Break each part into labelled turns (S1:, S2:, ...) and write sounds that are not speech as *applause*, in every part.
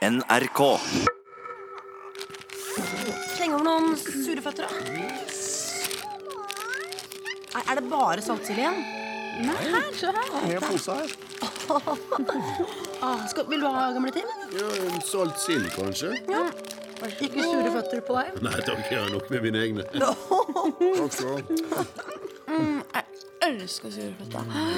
S1: NRK.
S2: Sleng over noen sure føtter, da. Er, er det bare saltsild igjen?
S3: Her, se her.
S4: Jeg har poser her.
S2: Ah, skal, vil du ha gamle til?
S4: Ja, en Salt sild, kanskje?
S2: Ikke sure føtter på deg.
S4: Nei takk, jeg har nok med mine egne. Takk skal du ha.
S3: Jeg elsker surfløtta.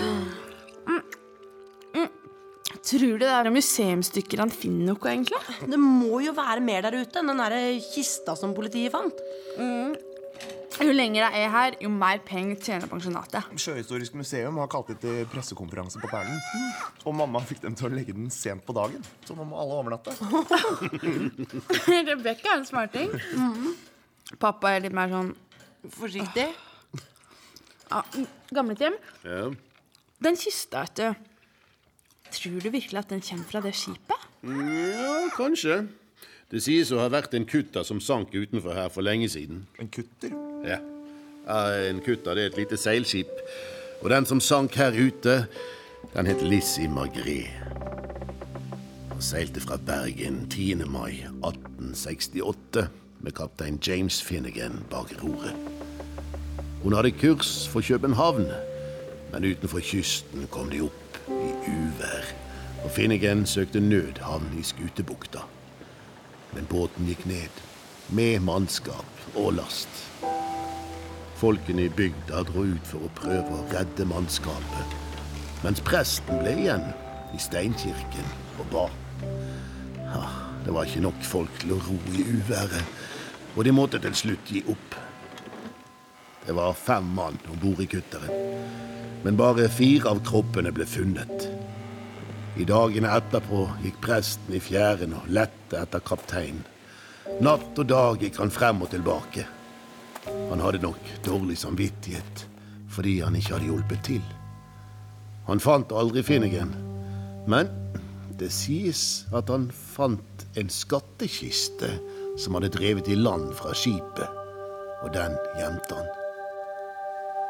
S3: Tror du det er museumsstykker han finner noe, egentlig?
S2: Det må jo være mer der ute enn den der kista som politiet fant.
S3: Jo lenger jeg er her, jo mer penger tjener pensjonatet.
S5: Sjøhistorisk museum har kalt etter pressekonferanse på Perlen. Og mamma fikk dem til å legge den sent på dagen, så nå må alle overnatte.
S3: *laughs* Rebekka er en smarting. Mhm. Pappa er litt mer sånn
S2: Forsiktig.
S3: ja, gamletjem.
S4: Ja.
S3: Den kista, vet du. Tror du virkelig at den kommer fra det skipet?
S4: ja, kanskje. Det sies å ha vært en kutta som sank utenfor her for lenge siden.
S5: En kutter.
S4: Ja. Eh, En kutta det er et lite seilskip. Og den som sank her ute, den het Lizzie Margré. Og seilte fra Bergen 10. mai 1868 med kaptein James Finnegan bak roret. Hun hadde kurs for København, men utenfor kysten kom de opp i uvær. Og Finnegan søkte nødhavn i Skutebukta. Men båten gikk ned, med mannskap og last. Folkene i bygda dro ut for å prøve å redde mannskapet. Mens presten ble igjen i steinkirken og ba. Ja, det var ikke nok folk til å ro i uværet, og de måtte til slutt gi opp. Det var fem mann om bord i kutteren, men bare fire av kroppene ble funnet. I dagene etterpå gikk presten i fjæren og lette etter kapteinen. Natt og dag gikk han frem og tilbake. Han hadde nok dårlig samvittighet fordi han ikke hadde hjulpet til. Han fant aldri Finnegan, men det sies at han fant en skattkiste som hadde drevet i land fra skipet, og den gjemte han.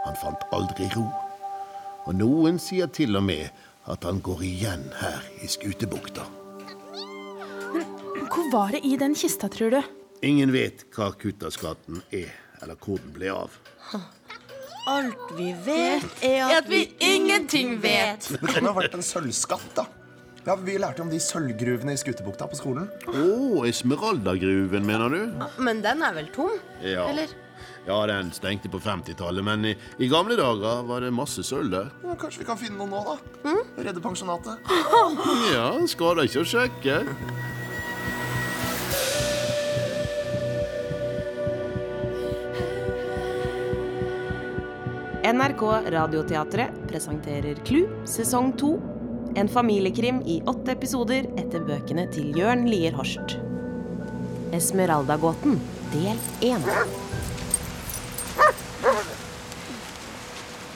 S4: Han fant aldri ro, og noen sier til og med at han går igjen her i Skutebukta.
S3: Hvor var det i den kista, tror du?
S4: Ingen vet hva kuttaskatten er, eller hvor den ble av.
S2: Alt vi vet, er at, vi ingenting vet.
S5: Det kan ha vært en sølvskatt, da. Ja, Vi lærte om de sølvgruvene i Skutebukta på skolen.
S4: Å, Esmeraldagruven, mener du?
S2: Men den er vel tom?
S4: Ja.
S2: Eller?
S4: ja, den stengte på 50-tallet, men i, i gamle dager var det masse sølv der.
S5: Ja, kanskje vi kan finne noe nå, da? Redde pensjonatet.
S4: Ja, skader ikke å sjekke.
S6: NRK Radioteatret presenterer Klu sesong 2. En familiekrim i åtte episoder etter bøkene til Jørn Lier Horst. Esmeraldagåten, del én.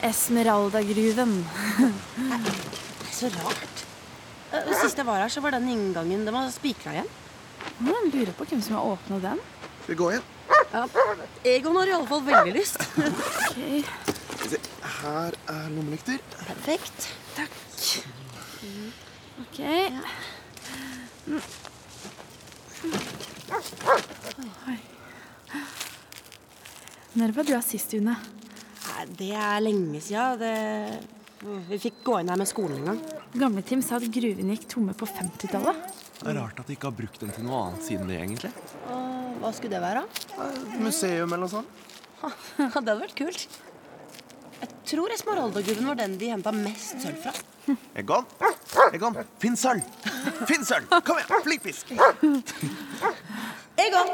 S3: Esmeraldagruven.
S2: Så rart. Eh, Sist jeg var her, så var den inngangen Den var spikra igjen.
S3: Man lurer på hvem som har åpna den.
S5: Skal vi gå igjen?
S2: Egon har iallfall veldig lyst.
S3: Ok.
S5: Se, Her er lommelykter.
S2: Perfekt.
S3: Ok. Oi. Når var du her sist, Une?
S2: Nei, det er lenge sia. Det... Vi fikk gå inn her med skolen en gang.
S3: Gamle-Tim sa at gruvene gikk tomme på 50-tallet.
S7: Det er Rart at de ikke har brukt den til noe annet siden det, egentlig.
S2: Hva skulle det *laughs* være? da?
S5: Museum eller noe sånt.
S2: det hadde vært kult. Jeg tror Esmeraldaguven var den de henta mest sølv fra.
S7: Egon? Egon, finn sølv! Finn sølv! Kom igjen, flink fisk!
S2: Egon!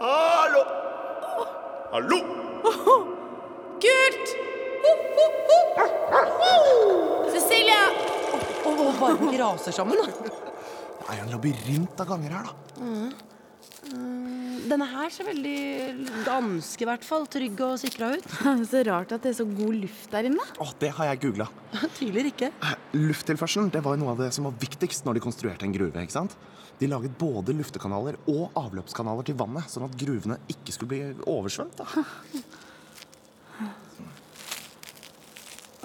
S4: Hallo! Hallo!
S3: Kult! Cecilia!
S2: Og bare vi ikke raser sammen, da.
S5: Det er jo en labyrint av ganger her, da.
S2: Denne her ser veldig danske, i hvert fall. Trygg og sikra ut.
S3: *laughs*
S2: *laughs*
S3: Så rart at det er så god luft der inne.
S7: Å, det har jeg googla.
S2: Tidligere ikke.
S7: Lufttilførselen det var jo noe av det som var viktigst når de konstruerte en gruve. ikke sant? De laget både luftekanaler og avløpskanaler til vannet, sånn at gruvene ikke skulle bli oversvømt. da.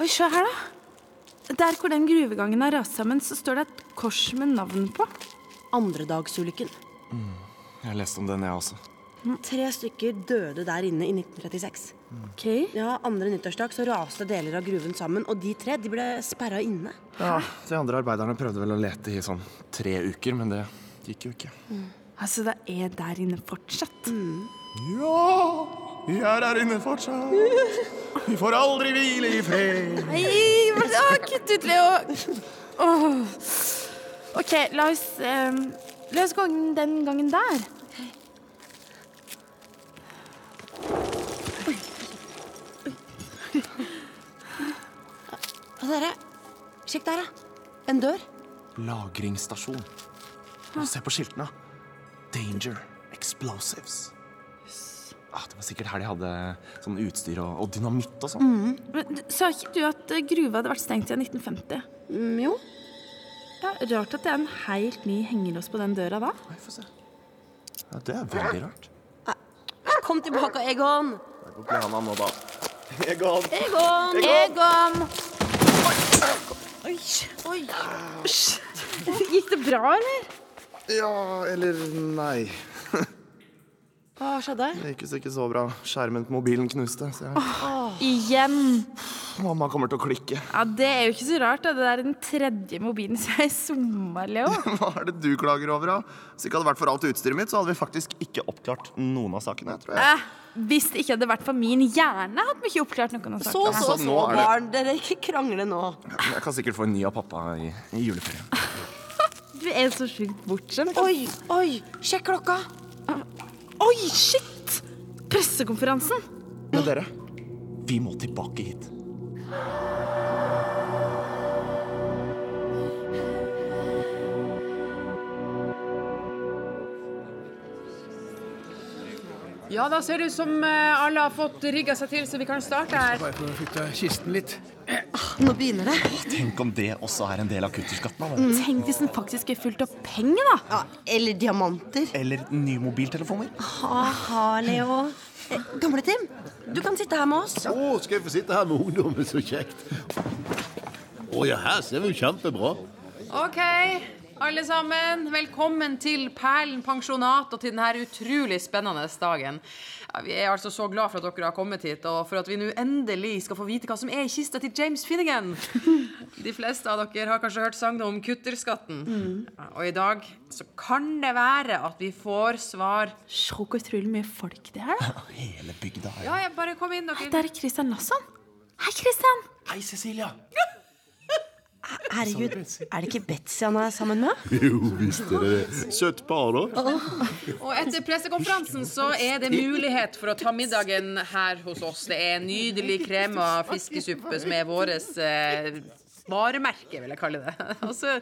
S3: Oi, se her, da. Der hvor den gruvegangen har rast sammen, så står det et kors med navn på.
S2: Andredagsulykken.
S7: Jeg leste om den, jeg også.
S2: Tre stykker døde der inne i 1936.
S3: Ok.
S2: Ja, Andre nyttårsdag så raste deler av gruven sammen, og de tre de ble sperra inne.
S7: Ja, De andre arbeiderne prøvde vel å lete i sånn tre uker, men det gikk jo ikke.
S3: Altså, det er der inne fortsatt.
S8: Ja, vi er her inne fortsatt. Vi får aldri hvile i fred.
S3: Nei, men- å, kutt ut, Leo! Åh. OK, la oss ehm, La oss gå den gangen der.
S2: Og dere, sjekk der, da. En dør.
S7: Lagringsstasjon. Og se på skiltene. Danger. Explosives. Ah, det var sikkert her de hadde sånn utstyr og, og dynamitt og sånn.
S3: Men, du- sa ikke du at eh, gruva hadde vært stengt siden 1950?
S2: Mm, jo.
S3: Ja, Rart at det er en helt ny hengelås på den døra da.
S7: Oi, få se. Ja, det er veldig rart.
S2: Kom tilbake, Egon.
S8: Hvor ble han av nå, da? Egon.
S3: Egon! Oi, oi. Gikk det bra, eller?
S7: Ja, eller nei.
S2: Hva skjedde?
S7: Det gikk visst ikke så bra. Skjermen på mobilen knuste. Så jeg,
S3: Igjen.
S7: mamma kommer til å klikke. *laughs*
S3: Ja, Det er jo ikke så rart. da. Det der er den tredje mobilen som jeg summa, *laughs* Leo.
S7: Hva er det du klager over, da? Hvis det ikke hadde vært for alt utstyret mitt, så hadde vi faktisk ikke oppklart noen av sakene, tror jeg.
S3: Eh, hvis det ikke hadde vært for min hjerne, hadde vi ikke oppklart noen av
S2: Så,
S3: sakene.
S2: så,
S7: sånn,
S2: så,
S7: nå er det-
S2: barn. Dere, ikke krangle nå.
S7: Jeg kan sikkert få en ny av pappa i, i juleferien.
S3: Du er så sjukt bortskjemt.
S2: Oi, oi, sjekk klokka.
S3: Oi, shit! Pressekonferansen.
S7: Men dere, vi må tilbake hit.
S1: Ja, da ser det ut som eh, alle har fått rigga seg til, så vi kan starte her.
S4: Bare for å flytte kisten litt.
S2: Nå begynner det.
S7: Tenk om det også er en del av kutterskatten. da, vel?
S3: Tenk hvis den faktisk er fullt av penger, da.
S2: Ja, Eller diamanter.
S7: Eller nye mobiltelefoner.
S2: Aha, Leo. Eh, Gamle Tim, du kan sitte her med oss.
S4: Å, skal jeg få sitte her med ungdommen? Så kjekt. Å ja, her ser vi jo kjempebra.
S1: OK, alle sammen. Velkommen til Perlen pensjonat og til denne utrolig spennende dagen. Ja, vi er altså så glad for at dere har kommet hit, og for at vi nå endelig skal få vite hva som er i kista til James Finnegan. De fleste av dere har kanskje hørt sagnet om kutterskatten. Ja, Og i dag så kan det være at vi får svar
S3: Se hvor utrolig mye folk det er. da.
S7: Hele bygda er
S1: Ja, ja, bare kom inn, dere.
S3: Der er Christian Lasson. Hei, Christian.
S7: Hei, Cecilia!
S2: Herregud, er det ikke Betsy han er sammen med?
S4: Jo, visst er det det. Søtt par, da.
S1: Og etter pressekonferansen så er det mulighet for å ta middagen her hos oss. Det er nydelig krem og fiskesuppe som er våres eh, varemerke, vil jeg kalle det. Og så,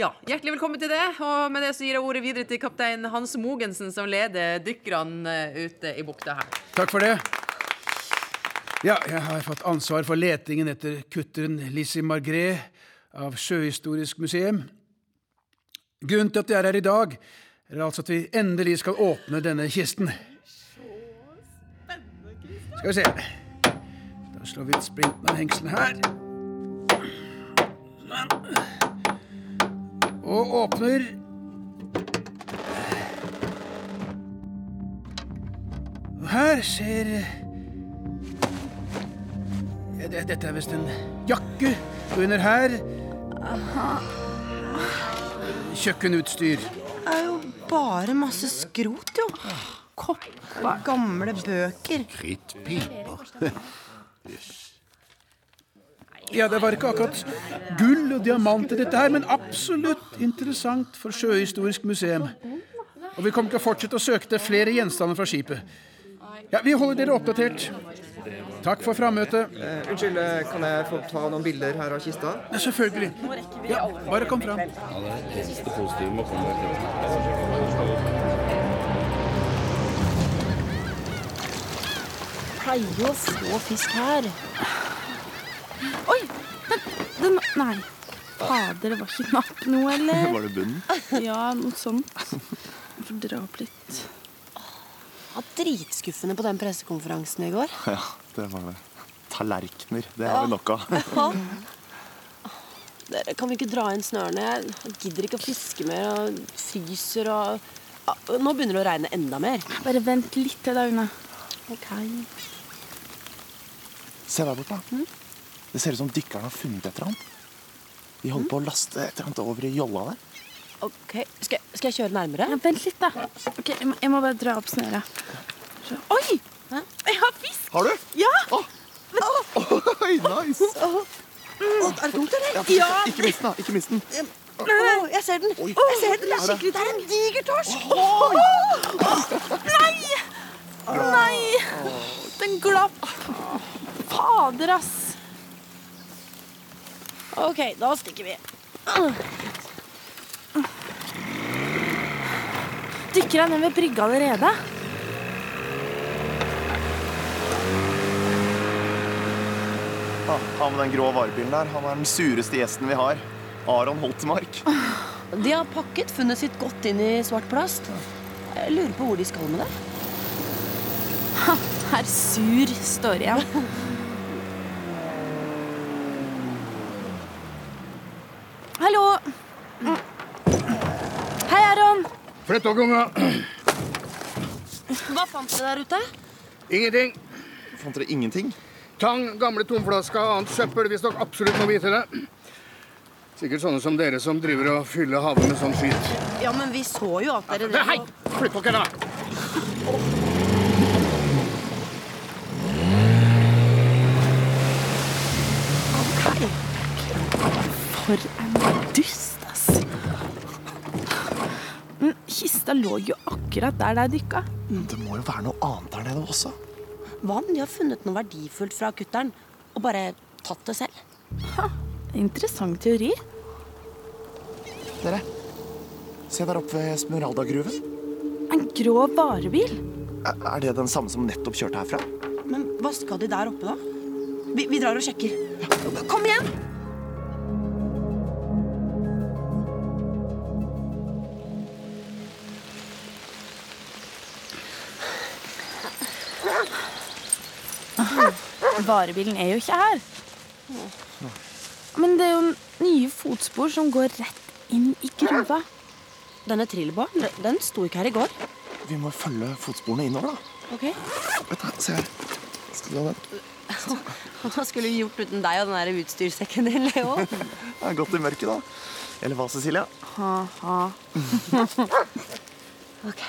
S1: ja, hjertelig velkommen til det. Og med det så gir jeg ordet videre til kaptein Hans Mogensen, som leder dykkerne eh, ute i bukta her.
S9: Takk for det. Ja, jeg har fått ansvar for letingen etter kutteren Lizzie Margret av Sjøhistorisk museum. Grunnen til at jeg er her i dag, er altså at vi endelig skal åpne denne kisten. Skal vi se Da slår vi ut sprinten av hengselen her. Sånn. Og åpner Og her ser Ja, det- Dette er visst en jakke. Og under her Kjøkkenutstyr.
S2: Det er jo bare masse skrot, jo. Kopper. Gamle bøker.
S4: Krittpiper.
S9: Ja, det var ikke akkurat gull og diamant i dette her, men absolutt interessant for Sjøhistorisk museum. Og vi kommer til å fortsette å søke etter flere gjenstander fra skipet. Ja, Vi holder dere oppdatert. Takk for frammøtet.
S10: Unnskyld, eh, kan jeg få ta noen bilder her av kista?
S9: Ja, selvfølgelig. Ja, bare kom fram.
S11: Pleier jo å få fisk her.
S3: Oi! Den, den Nei. Fader, det var ikke napp nå, eller?
S7: *laughs* Var det *laughs* bunnen?
S3: Ja, noe sånt. Jeg får dra opp litt.
S2: Ja, dritskuffende på den pressekonferansen i går.
S7: Ja, det var det. Tallerkener. Det har vi nok av.
S2: Dere, kan vi ikke dra inn snørene? Jeg gidder ikke å fiske mer. Og fryser og Ah, Nå begynner det å regne enda mer.
S3: Bare vent litt til, da, Una. Ok.
S7: *laughs* Se der borte. da. Det ser ut som dykkerne har funnet et eller annet. De holder på å laste et eller annet over i jolla der.
S2: Ok, Skal, jeg- skal jeg kjøre nærmere?
S3: Ja, vent litt, da. Ok, Jeg må, jeg må bare dra opp snøret. Så- Oi! Jeg har fisk!
S7: Har du? *laughs*
S3: Ja!
S7: Oi, nice!
S2: Er det tungt, eller?
S7: Ja, ikke mist den, da. Ikke mist den.
S2: Å, jeg ser den! Jeg ser den, Det er skikkelig tung. En diger torsk.
S3: Nei! Den glapp. Fader, ass.
S2: Ok, da stikker vi.
S3: Dykker han ned ved brygga allerede?
S7: Ah, Han med den grå varebilen der, han er den sureste gjesten vi har. Aron Holtemark.
S2: De har pakket funnet sitt godt inn i svart plast. Jeg lurer på hvor de skal med det.
S3: Herr sur står igjen. Hallo. Hei, Aron.
S10: Flytt dere, unger.
S2: Hva fant dere der ute?
S10: Ingenting.
S7: Fant dere ingenting?
S10: Tang, gamle tomflasker og annet søppel hvis dere absolutt må vite det. Sikkert sånne som dere som driver og fyller havet med sånn skit.
S2: Ja, men vi så jo at dere
S10: Hei! Flytt dere, da.
S3: For en dust, ass. Men kista lå jo akkurat der det er dykka.
S7: Det må jo være noe annet der nede også.
S2: Hva om de har funnet noe verdifullt fra kutteren og bare tatt det selv?
S3: Interessant teori.
S7: Dere, se der oppe ved Smeralda-gruven.
S3: En grå varebil.
S7: Er er det den samme som nettopp kjørte herfra?
S2: Men hva skal de der oppe, da? Vi, vi drar og sjekker. Kom igjen!
S3: Varebilen er jo ikke her. Men det er jo nye fotspor som går rett inn i gruva.
S2: Denne trillebåren, den- den sto ikke her i går.
S7: Vi må følge fotsporene innover, da.
S2: Ok.
S7: Vet du, se her. Skal du ha den?
S2: Hva skulle vi gjort uten deg og den der utstyrssekken din, Leo?
S7: Det er godt i mørket, da. Eller hva, Cecilia?
S3: Ha-ha.
S2: Ok.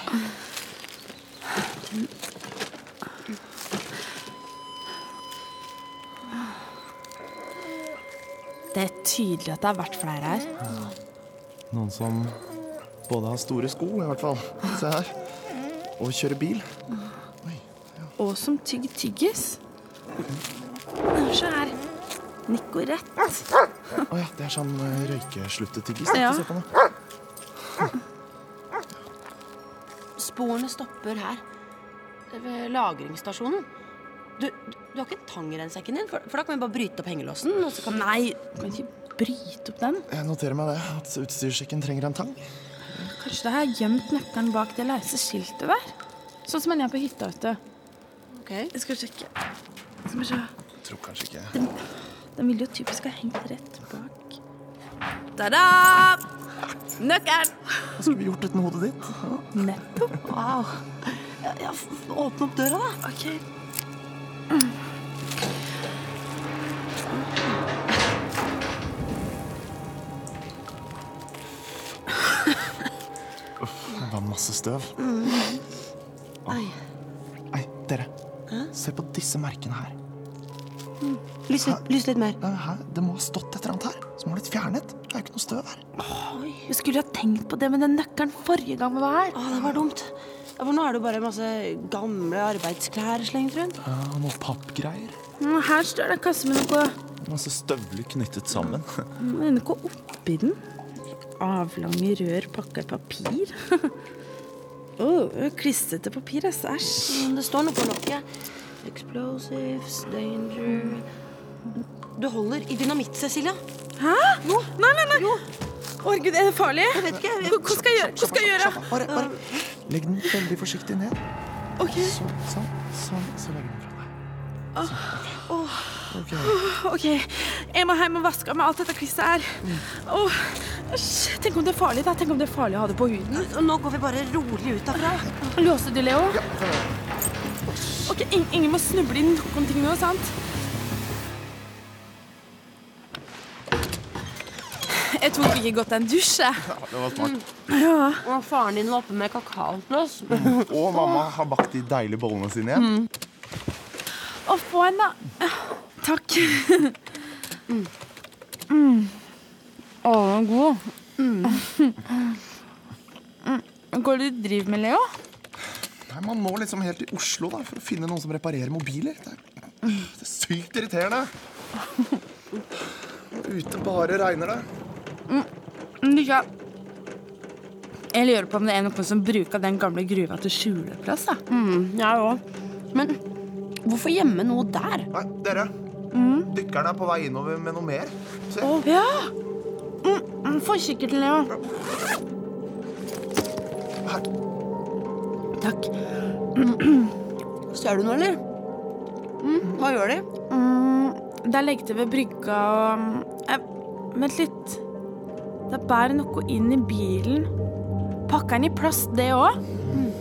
S3: Det er tydelig at det har vært flere her.
S7: Noen som både har store sko, i hvert fall. Se her. Og kjører bil.
S3: Og som tygg tyggis. Se her. Nicorette.
S7: Å ja, det er sånn eh, røykesluttetyggis.
S3: Ja.
S7: Få se på den.
S2: *laughs* Sporene stopper her. Ved lagringsstasjonen. Du, du har ikke tangerensekken din? For, for da kan vi bare bryte opp hengelåsen. Og så kan
S3: Nei, du kan ikke bryte opp den.
S7: Jeg noterer meg det, at utstyrssjekken trenger en tang.
S3: Kanskje det har gjemt nøkkelen bak det løse skiltet der? Sånn som en gjør på hytta, vet du.
S2: Ok.
S3: Jeg skal sjekke. Skal vi se.
S7: Tror kanskje ikke
S3: Den ville jo typisk ha hengt rett bak.
S2: Ta-da! Nøkkelen!
S7: Hva skulle vi gjort uten hodet ditt?
S3: Nettopp.
S2: Wow. Ja, ja, f- f- åpne opp døra, da.
S3: Ok.
S7: Det var masse støv.
S2: Nei.
S7: Nei, dere. Se på disse merkene her.
S2: Lys litt, lys litt mer.
S7: Nei, her. Det må ha stått et eller annet her som har blitt fjernet. Det er jo ikke noe støv her.
S3: Vi skulle ha tenkt på det med den nøkkelen forrige gang vi var her.
S2: Å, det var dumt. Ja, for nå er det jo bare masse gamle arbeidsklær slengt rundt.
S7: Ja, og noe pappgreier.
S3: Mm, Her står det en kasse med noe
S7: Masse støvler knyttet sammen.
S3: Men er det ikke oppi den? Avlange rør pakka i *laughs* papir. oh, klissete papir, altså. Æsj.
S2: Men det står noe på lokket. Explosives, danger Du holder i dynamitt, Cecilia.
S3: Hæ? Nei, nei, nei. Å, herregud, er det farlig? Jeg vet ikke. Hva skal jeg gjøre? Hva skal jeg gjøre?
S7: *laughs* Bare, bare. Legg den veldig forsiktig ned.
S3: Ok.
S7: Sånn, sånn, sånn. Så legger den fra deg.
S3: OK, jeg må hjem og vaske av meg alt dette klisset her. Åh, æsj, tenk om det er farlig, da. Tenk om det er farlig å ha det på huden.
S2: Nå går vi bare rolig ut herfra.
S3: Låste du, Leo? Ok, ing- Ingen må snuble i noen ting nå, sant? Jeg tok ikke godt en dusj. jeg.
S7: Ja, det var smart.
S2: Og faren din var oppe med kakao til oss.
S7: Og mamma har bakt de deilige bollene sine igjen.
S3: Å, få en, da. Takk. Mm. Å, den var god. Mm. Går det du driver med, Leo?
S7: Nei, Man må liksom helt til Oslo da, for å finne noen som reparerer mobiler. Det er, det er sykt irriterende. Ute bare regner det.
S3: Men du ikke Mm, Jeg lurer på om det er noen som bruker den gamle gruva til skjuleplass. da.
S2: Mm, Jeg òg. Men hvorfor gjemme noe der?
S7: Nei, dere. Dykkerne er på vei innover med noe mer. Se,
S3: Ja! Mm, Forsiktig, Leo.
S7: her.
S2: *clears throat* Takk. Ser du noe, eller? Mm, hva gjør de?
S3: Der legget jeg ved brygga og eh, Vent litt. Det bærer noe inn i bilen. Pakka den i plast, det òg?
S2: Mm.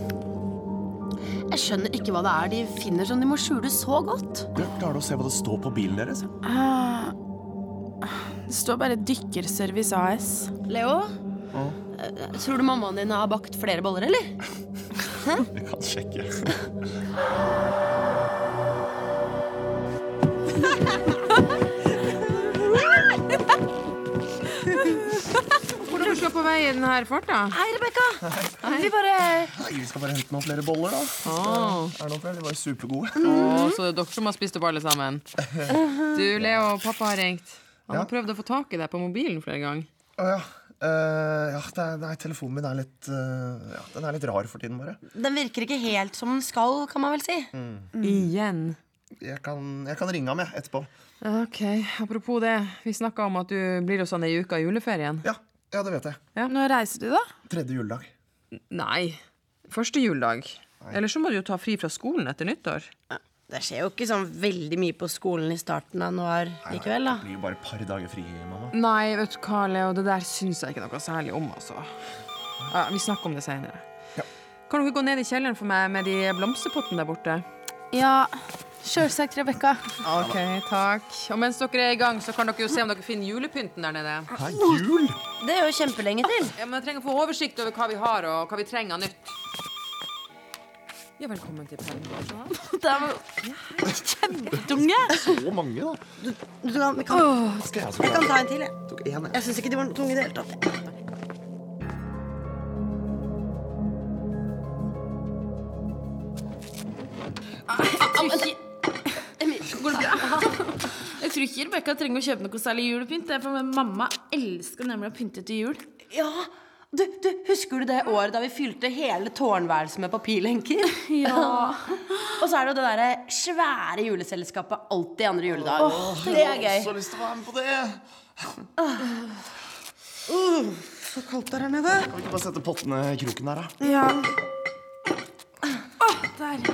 S2: Jeg skjønner ikke hva det er de finner som de må skjule så godt.
S12: Du, Klarer du å se hva det står på bilen deres?
S3: Det står bare 'Dykkerservice AS'.
S2: Leo, eh, tror du mammaen din har bakt flere boller, eller?
S7: Vi kan sjekke.
S1: Hvordan er du på vei i den her farta?
S2: Hei, Rebekka! Vi bare
S7: Nei, vi skal bare hente noen flere boller, da. Mm.
S1: Å,
S7: Er det noen flere? De var jo supergode.
S1: å, så det er dere som har spist opp alle *laughs* sammen? Du, Leo, pappa har ringt. Han
S7: Ja.
S1: har prøvd å få tak i deg på mobilen flere ganger.
S7: Å ja. Eh, ja, det er, nei, telefonen min er litt eh, Ja, den er litt rar for tiden, bare.
S2: Den virker ikke helt som den skal, kan man vel si.
S1: Igjen.
S7: Jeg kan, jeg kan ringe ham, jeg, etterpå.
S1: Ok, Apropos det, vi snakka om at du blir hos han ei uke av juleferien.
S7: Ja, ja, det vet jeg.
S3: Når reiser du, da?
S7: Tredje juledag.
S1: Nei. Første juledag. Eller så må du jo ta fri fra skolen etter nyttår.
S2: Det skjer jo ikke sånn veldig mye på skolen i starten av januar likevel, da.
S7: Det blir jo bare et par dager fri, mamma.
S1: Nei, vet du hva, Leo, det der syns jeg ikke noe særlig om, altså. Ja, vi snakker om det seinere. Kan dere gå ned i kjelleren for meg med de blomsterpottene der borte?
S3: Ja, sjølsagt, Rebekka.
S1: Ok, takk. Og mens dere er i gang, så kan dere jo se om dere finner julepynten der nede.
S7: Det er jul!
S2: Det er jo kjempelenge til.
S1: Ja, men jeg trenger å få oversikt over hva vi har, og hva vi trenger av nytt. Ja, velkommen til Perlen.
S7: Så mange, da.
S2: Du kan, vi, kan,
S7: Skal jeg også
S2: vi kan ta en til, jeg.
S7: Tok en, jeg.
S2: Jeg syns ikke de var tunge i det hele tatt. jeg.
S3: Ah, Jeg tror ikke Rebekka trenger å kjøpe noe særlig julepynt. Det er for Mamma elsker nemlig å pynte til jul.
S2: Ja, du, du, Husker du det året da vi fylte hele tårnværelset med *laughs* papirlenker?
S3: Ja.
S2: Og så er det jo det derre svære juleselskapet alltid andre juledag. det er
S7: Jeg har
S2: gøy.
S7: så lyst til å være med på det. Uh,
S2: Så kaldt det er her nede.
S7: Ah. Kan vi ikke bare sette pottene i kroken der, da?
S3: ja. der.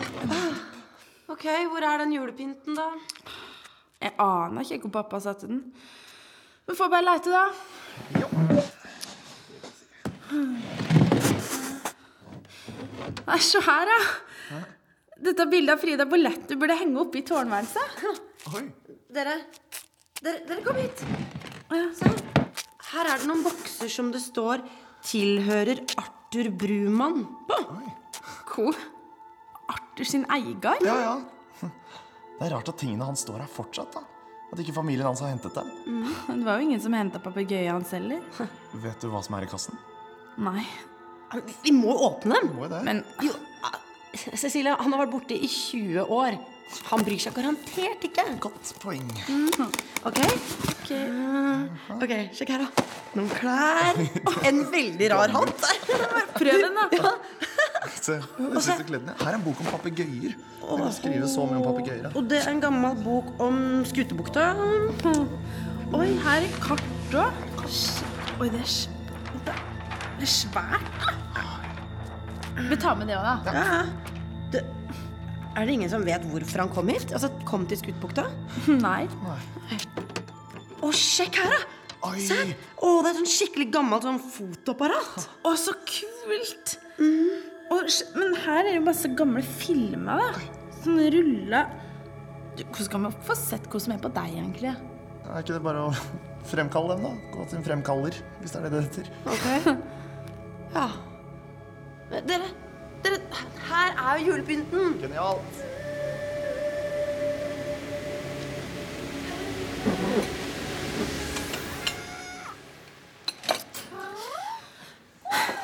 S2: Ok, hvor er den julepynten, da?
S3: Jeg aner ikke hvor pappa satte den. Men får bare leite, da. Nei, se her, da. Dette bildet av Frida Bollett du burde henge oppe i tårnværelset.
S7: Oi.
S2: Dere, dere, dere kom hit. Her er det noen bokser som det står 'Tilhører Arthur Brumann'.
S3: Hvor Arthur sin eier?
S7: Ja, ja. Det er rart at tingene hans står her fortsatt, da. At ikke familien hans har hentet dem.
S3: Det var jo ingen som henta papegøyen hans heller.
S7: Vet du hva som er i kassen?
S3: Nei.
S2: Vi- Vi må åpne dem.
S7: Må jo det.
S3: Men
S2: Jo, ah, Cecilie, han har vært borte i 20 år. Han bryr seg garantert ikke.
S7: Godt poeng.
S2: Ok? Ok, Sjekk her, da. Noen klær. En veldig rar hatt.
S3: prøv den, da.
S7: Se, de siste kleddene. Her er en bok om papegøyer. Jeg kan skrive så mye om papegøyer. da.
S2: Og det er en gammel bok om Skutebukta.
S3: Oi, her er kart òg. Oi, det er, sv- det er- det er svært. da. Vi tar med det òg, da.
S2: Det, Er det ingen som vet hvorfor han kom hit? Altså, kom til Skuttbukta?
S3: Nei.
S2: Å, sjekk her, da! Se her. Å, det er et sånn skikkelig gammelt sånn fotoapparat.
S3: Å, så kult! Og sj- men her er jo masse gamle filmer, da. Sånn rulla Du, Hvordan skal man få sett hva som er på deg, egentlig?
S7: Er ikke det bare å *laughs* fremkalle dem, da? Gå til en fremkaller, hvis det er det det heter.
S2: Ja. Men Dere, dere, her er jo julepynten.
S7: Genialt.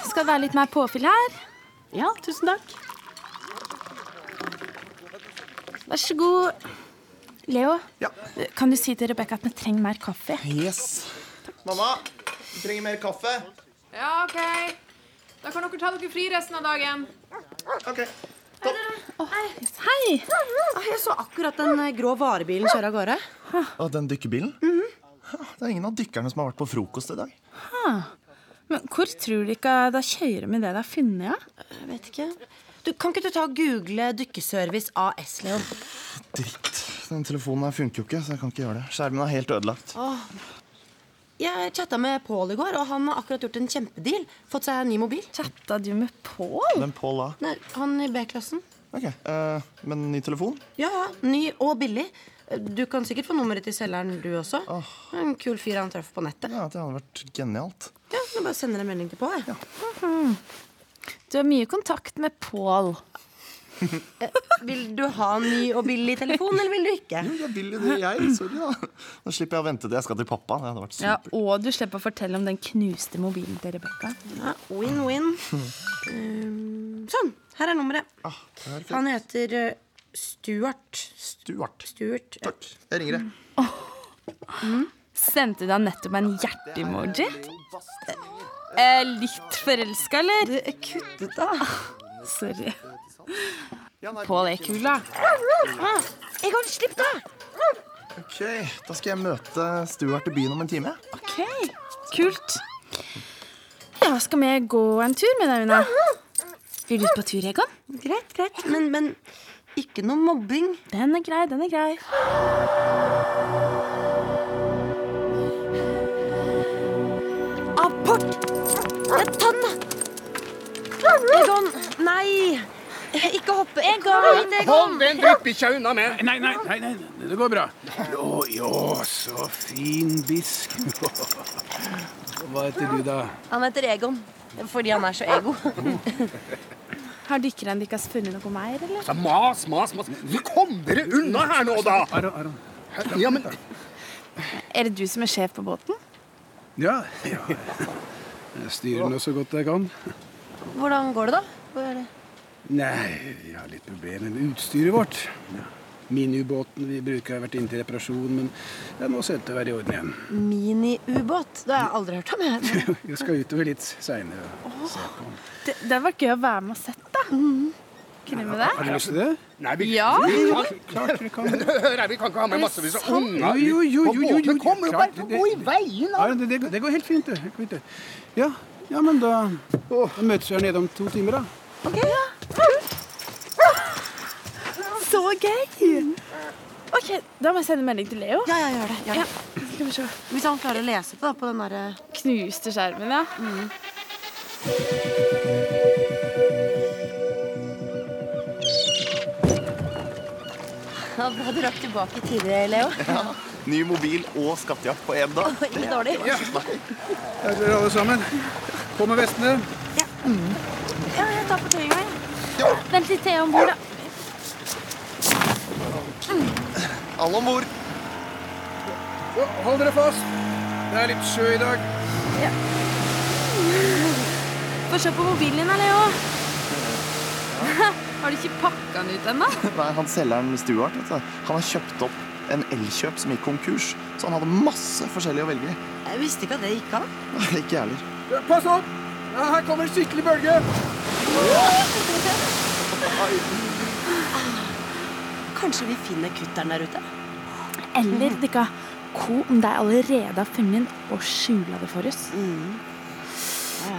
S3: Skal det være litt mer påfyll her?
S13: Ja, tusen takk.
S3: Vær så god. Leo,
S7: Ja.
S3: kan du si til Rebekka at vi trenger mer kaffe?
S7: Yes. Mamma, vi trenger mer kaffe.
S1: Ja, OK. Da kan dere ta dere fri resten av dagen.
S7: Ok.
S3: Hei!
S2: Ah, Jeg så akkurat den eh, grå varebilen kjøre av gårde.
S7: Og den dykkerbilen? Ha, Det er ingen av dykkerne som har vært på frokost i dag.
S3: Men hvor tror du ikke de kjører med det de har funnet? Ja?
S2: Jeg vet ikke. Du, Kan ikke du ta og google Dykkeservice AS, Leon?
S7: Dritt. Den telefonen her funker jo ikke, så jeg kan ikke gjøre det. Skjermen er helt ødelagt.
S2: Jeg chatta med Pål i går, og han har akkurat gjort en kjempedeal. Fått seg en ny mobil.
S3: Chatta du med Pål?
S7: Hvem Pål da?
S2: Nei, han i B-klassen.
S7: Ok, eh, men ny telefon?
S2: Ja, ja. Ny og billig. Du kan sikkert få nummeret til selgeren, du også. En kul fyr han traff på nettet.
S7: Ja, det hadde vært genialt.
S2: Ja, jeg Bare sender en melding til Pål. jeg.
S3: Du har mye kontakt med Pål.
S2: Vil du ha en ny og billig telefon, eller vil du ikke?
S7: Jo, Jeg vil jo det, jeg. Sorry, da. *laughs* Nå slipper jeg å vente til jeg skal til pappa. Det hadde vært
S3: Ja,
S7: supert.
S3: og du slipper å fortelle om den knuste mobilen til Rebekka.
S2: Ja, *laughs* Win-win. Um, sånn. Her er nummeret.
S7: Ah, perfekt.
S2: Han heter eh, Stuart.
S7: Stuart.
S2: Stuart. ja.
S7: Takk. Jeg ringer deg.
S3: Sendte du han nettopp en hjerte-emoji? Eh, litt forelska, eller? Du er kuttet, da. Sorry. Ah, Pål er kul, da.
S2: Egon, slipp da!
S7: Ok, Da skal jeg møte Stuart i byen om en time.
S3: OK, kult. Ja, skal vi gå en tur med deg, Una? Vil du ut på tur, Egon?
S2: Greit, greit. Men, men ikke noe mobbing.
S3: Den er grei, den er grei.
S2: Abort! Ja, ta den, da! Egon, nei! Ikke hoppe. Egon! Egon.
S9: den dryppbikkja unna meg!
S10: Nei, nei, nei, nei, det går bra. Jo, jo, så fin bisk. *laughs* Hva heter du, da?
S2: Han heter Egon fordi han er så ego.
S3: Har dykkerne deres funnet noe mer, eller?
S9: Så mas, mas, mas. Så kom dere unna her nå, da!
S10: Aron, Aron.
S9: Ja, men
S3: Er det du som er sjef på båten?
S10: Ja, ja. Jeg styrer nå så godt jeg kan.
S2: Hvordan går det, da? Hvor er det?
S10: Nei, vi har litt problemer med utstyret vårt. Ja. Miniubåten vi bruker har vært inne til reparasjon, men ja, nå ser det ut til å være i orden igjen. *laughs*
S2: Mini-ubåt? Det har jeg aldri hørt om. jeg.
S10: Jeg skal utover litt seinere.
S3: Det, det var gøy å være med og sett, da.
S2: Mhm.
S3: Kunne vi det?
S10: Har du lyst til det?
S9: Nei, vi,
S3: Ja.
S9: vi,
S10: Klart vi kan.
S9: kan, hør her, vi kan ikke ha med massevis av unger
S10: Jo, jo, jo,
S9: på
S10: jo, jo, jo,
S9: båten. Kom,
S10: klart,
S9: bare
S10: det-
S9: gå i veien, da!
S10: Ja, det, det, går- det går helt fint, det. Helt fint, det. Ja, ja, men da, da møtes vi her nede om to timer, da.
S3: Så gøy! Ok, Da må jeg sende melding til Leo.
S2: Ja, ja, gjør det. Gjør det.
S3: Skal vi se.
S2: Hvis han klarer å lese det da, på den derre
S3: Knuste skjermen, ja.
S2: Ja, Da du rakk tilbake i tide,
S14: *laughs*
S2: Leo.
S7: Ny mobil og skattejakt på én dag.
S2: Ikke dårlig.
S10: Er dere alle sammen? På med vestene.
S3: Ja, jeg tar fortøyinga, jeg. Vent litt til jeg er om bord, da.
S7: Alle om bord.
S10: Og Hold dere fast. Det er litt sjø i dag.
S3: Få se på mobilen din, da, Leo. *laughs* Har du ikke pakka den ut ennå?
S7: *laughs* Nei, han selgeren Stuart vet du, Han har kjøpt opp en elkjøp som gikk konkurs. Så han hadde masse forskjellig å velge i. *laughs*
S2: Jeg visste ikke at det gikk an.
S7: Nei, Ikke jeg heller.
S10: Ja, Pass opp! Ja, her kommer en skikkelig bølge.
S2: Kanskje vi finner kutteren der ute?
S3: Eller dere, hva om de allerede har funnet den og skjula det for oss?
S2: Ja,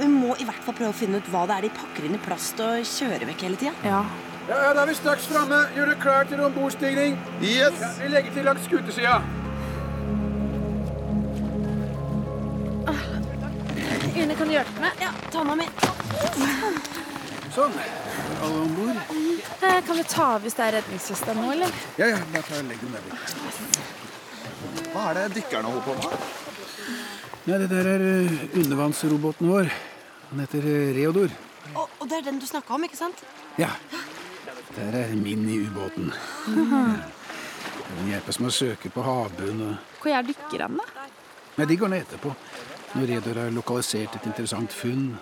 S2: Vi må i hvert fall prøve å finne ut hva det er de pakker inn i plast og kjører vekk hele tida.
S3: Ja,
S10: Ja, ja, da er vi straks framme. Gjør dere klar til ombordstigning.
S15: Yes!
S10: Ja, vi legger til langs skutesida.
S3: Une, kan du hjelpe meg? Ja, tanna mi.
S10: Sånn. Alle om bord.
S3: Eh, Kan vi ta av hvis det er redningsvesta nå, eller?
S10: Ja, ja. Da tar jeg og legger den der. borte.
S7: Hva er det dykkerne holder på med?
S10: Nei, det der er eh, undervannsroboten vår. Han heter eh, Reodor.
S14: Og, og det er den du snakka om, ikke sant?
S10: Ja. Der er mini-ubåten.
S14: Mhm.
S10: Den hjelper oss med å søke på havbunnen. og-
S3: Hvor er dykkerne, da?
S10: Nei, de går ned etterpå. Når Reodor har lokalisert et interessant funn.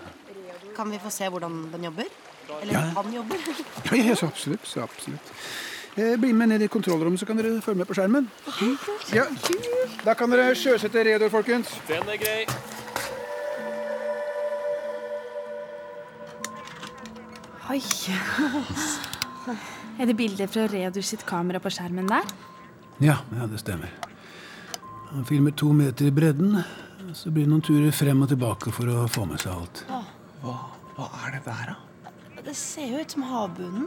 S14: Kan vi få se hvordan den jobber? Eller
S10: Ja.
S14: han jobber?
S10: Ja, ja, så absolutt. Så absolutt. Eh, bli med ned i kontrollrommet, så kan dere følge med på skjermen. Ja. Da kan dere sjøsette Reodor, folkens.
S3: Oi. *laughs* Er det bilder fra Redur sitt kamera på skjermen der?
S10: Ja, ja, det stemmer. Han filmer to meter i bredden. Så blir det noen turer frem og tilbake for å få med seg alt.
S7: Hva, hva er det der, da?
S14: Det ser jo ut som havbunnen.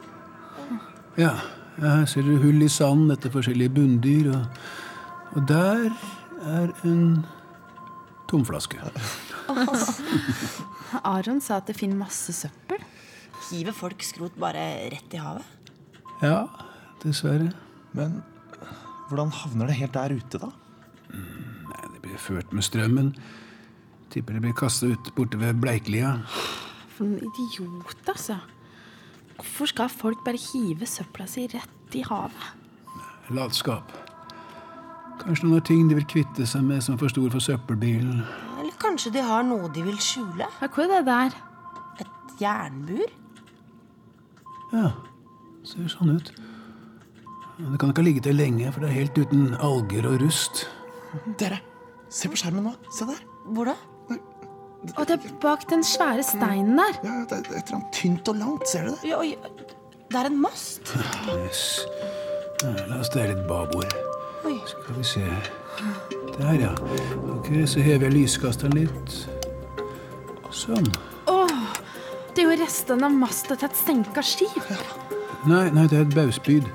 S10: Ja, ja, her ser dere hull i sanden etter forskjellige bunndyr. Og, og der er en tomflaske.
S3: Aron sa at det finner masse søppel.
S14: *laughs* Hiver folk skrot bare rett i havet?
S10: Ja, dessverre.
S7: Men hvordan havner det helt der ute, da?
S10: Nei, det blir ført med strømmen. Tipper det blir kasta ut borte ved Bleiklia.
S3: For noen idiot, altså. Hvorfor skal folk bare hive søpla si rett i havet?
S10: Latskap. Kanskje noen har ting de vil kvitte seg med som er for stor for søppelbilen.
S14: Eller kanskje de har noe de vil skjule?
S3: Ja, Hva er det der?
S14: Et jernbur?
S10: Ja, ser sånn ut. Men Det kan ikke ha ligget der lenge, for det er helt uten alger og rust.
S7: Dere, se på skjermen nå. Se der.
S14: Hvor da?
S3: Og det er bak den svære steinen der.
S7: Ja, det er et eller annet tynt og langt. Ser du det?
S14: Ja, oi, det er en mast.
S10: Yes. Ja, La oss dreie litt babord.
S14: Oi.
S10: Skal vi se Der, ja. Ok, Så hever jeg lyskasteren litt. Sånn.
S3: Det er jo restene av masta til et senka skip.
S10: Nei, nei, det er et baugspyd.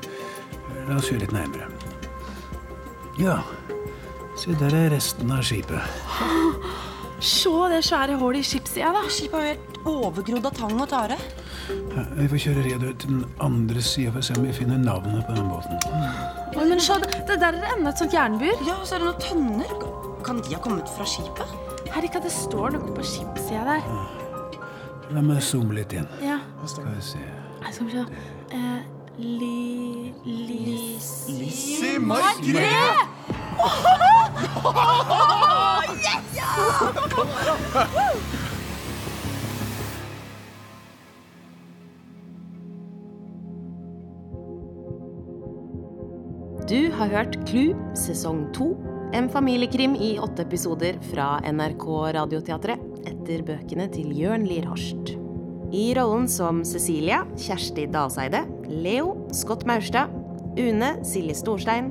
S10: La oss se litt nærmere. Ja, se der er resten av skipet.
S3: Se det svære hullet i skipssida, da.
S14: Skipet er jo helt overgrodd av tang og tare.
S10: Ja, vi får kjøre redur til den andre sida for å se om vi finner navnet på den båten.
S3: Oi, men se, det, det der er enda et sånt jernbur.
S14: Ja, og så er det noen tønner. Kan de ha kommet fra skipet?
S3: Herrika, det står noe på skipssida der.
S10: La meg zoome litt inn.
S3: Ja,
S10: Skal vi se.
S3: jeg skal vi se. Eh, li... Lis...
S7: Se, Margrethe!
S2: Du har hørt Klu sesong to, en familiekrim i åtte episoder fra NRK Radioteatret etter bøkene til Jørn Lier Horst. I rollen som Cecilia, Kjersti Dalseide, Leo, Scott Maurstad, Une, Silje Storstein,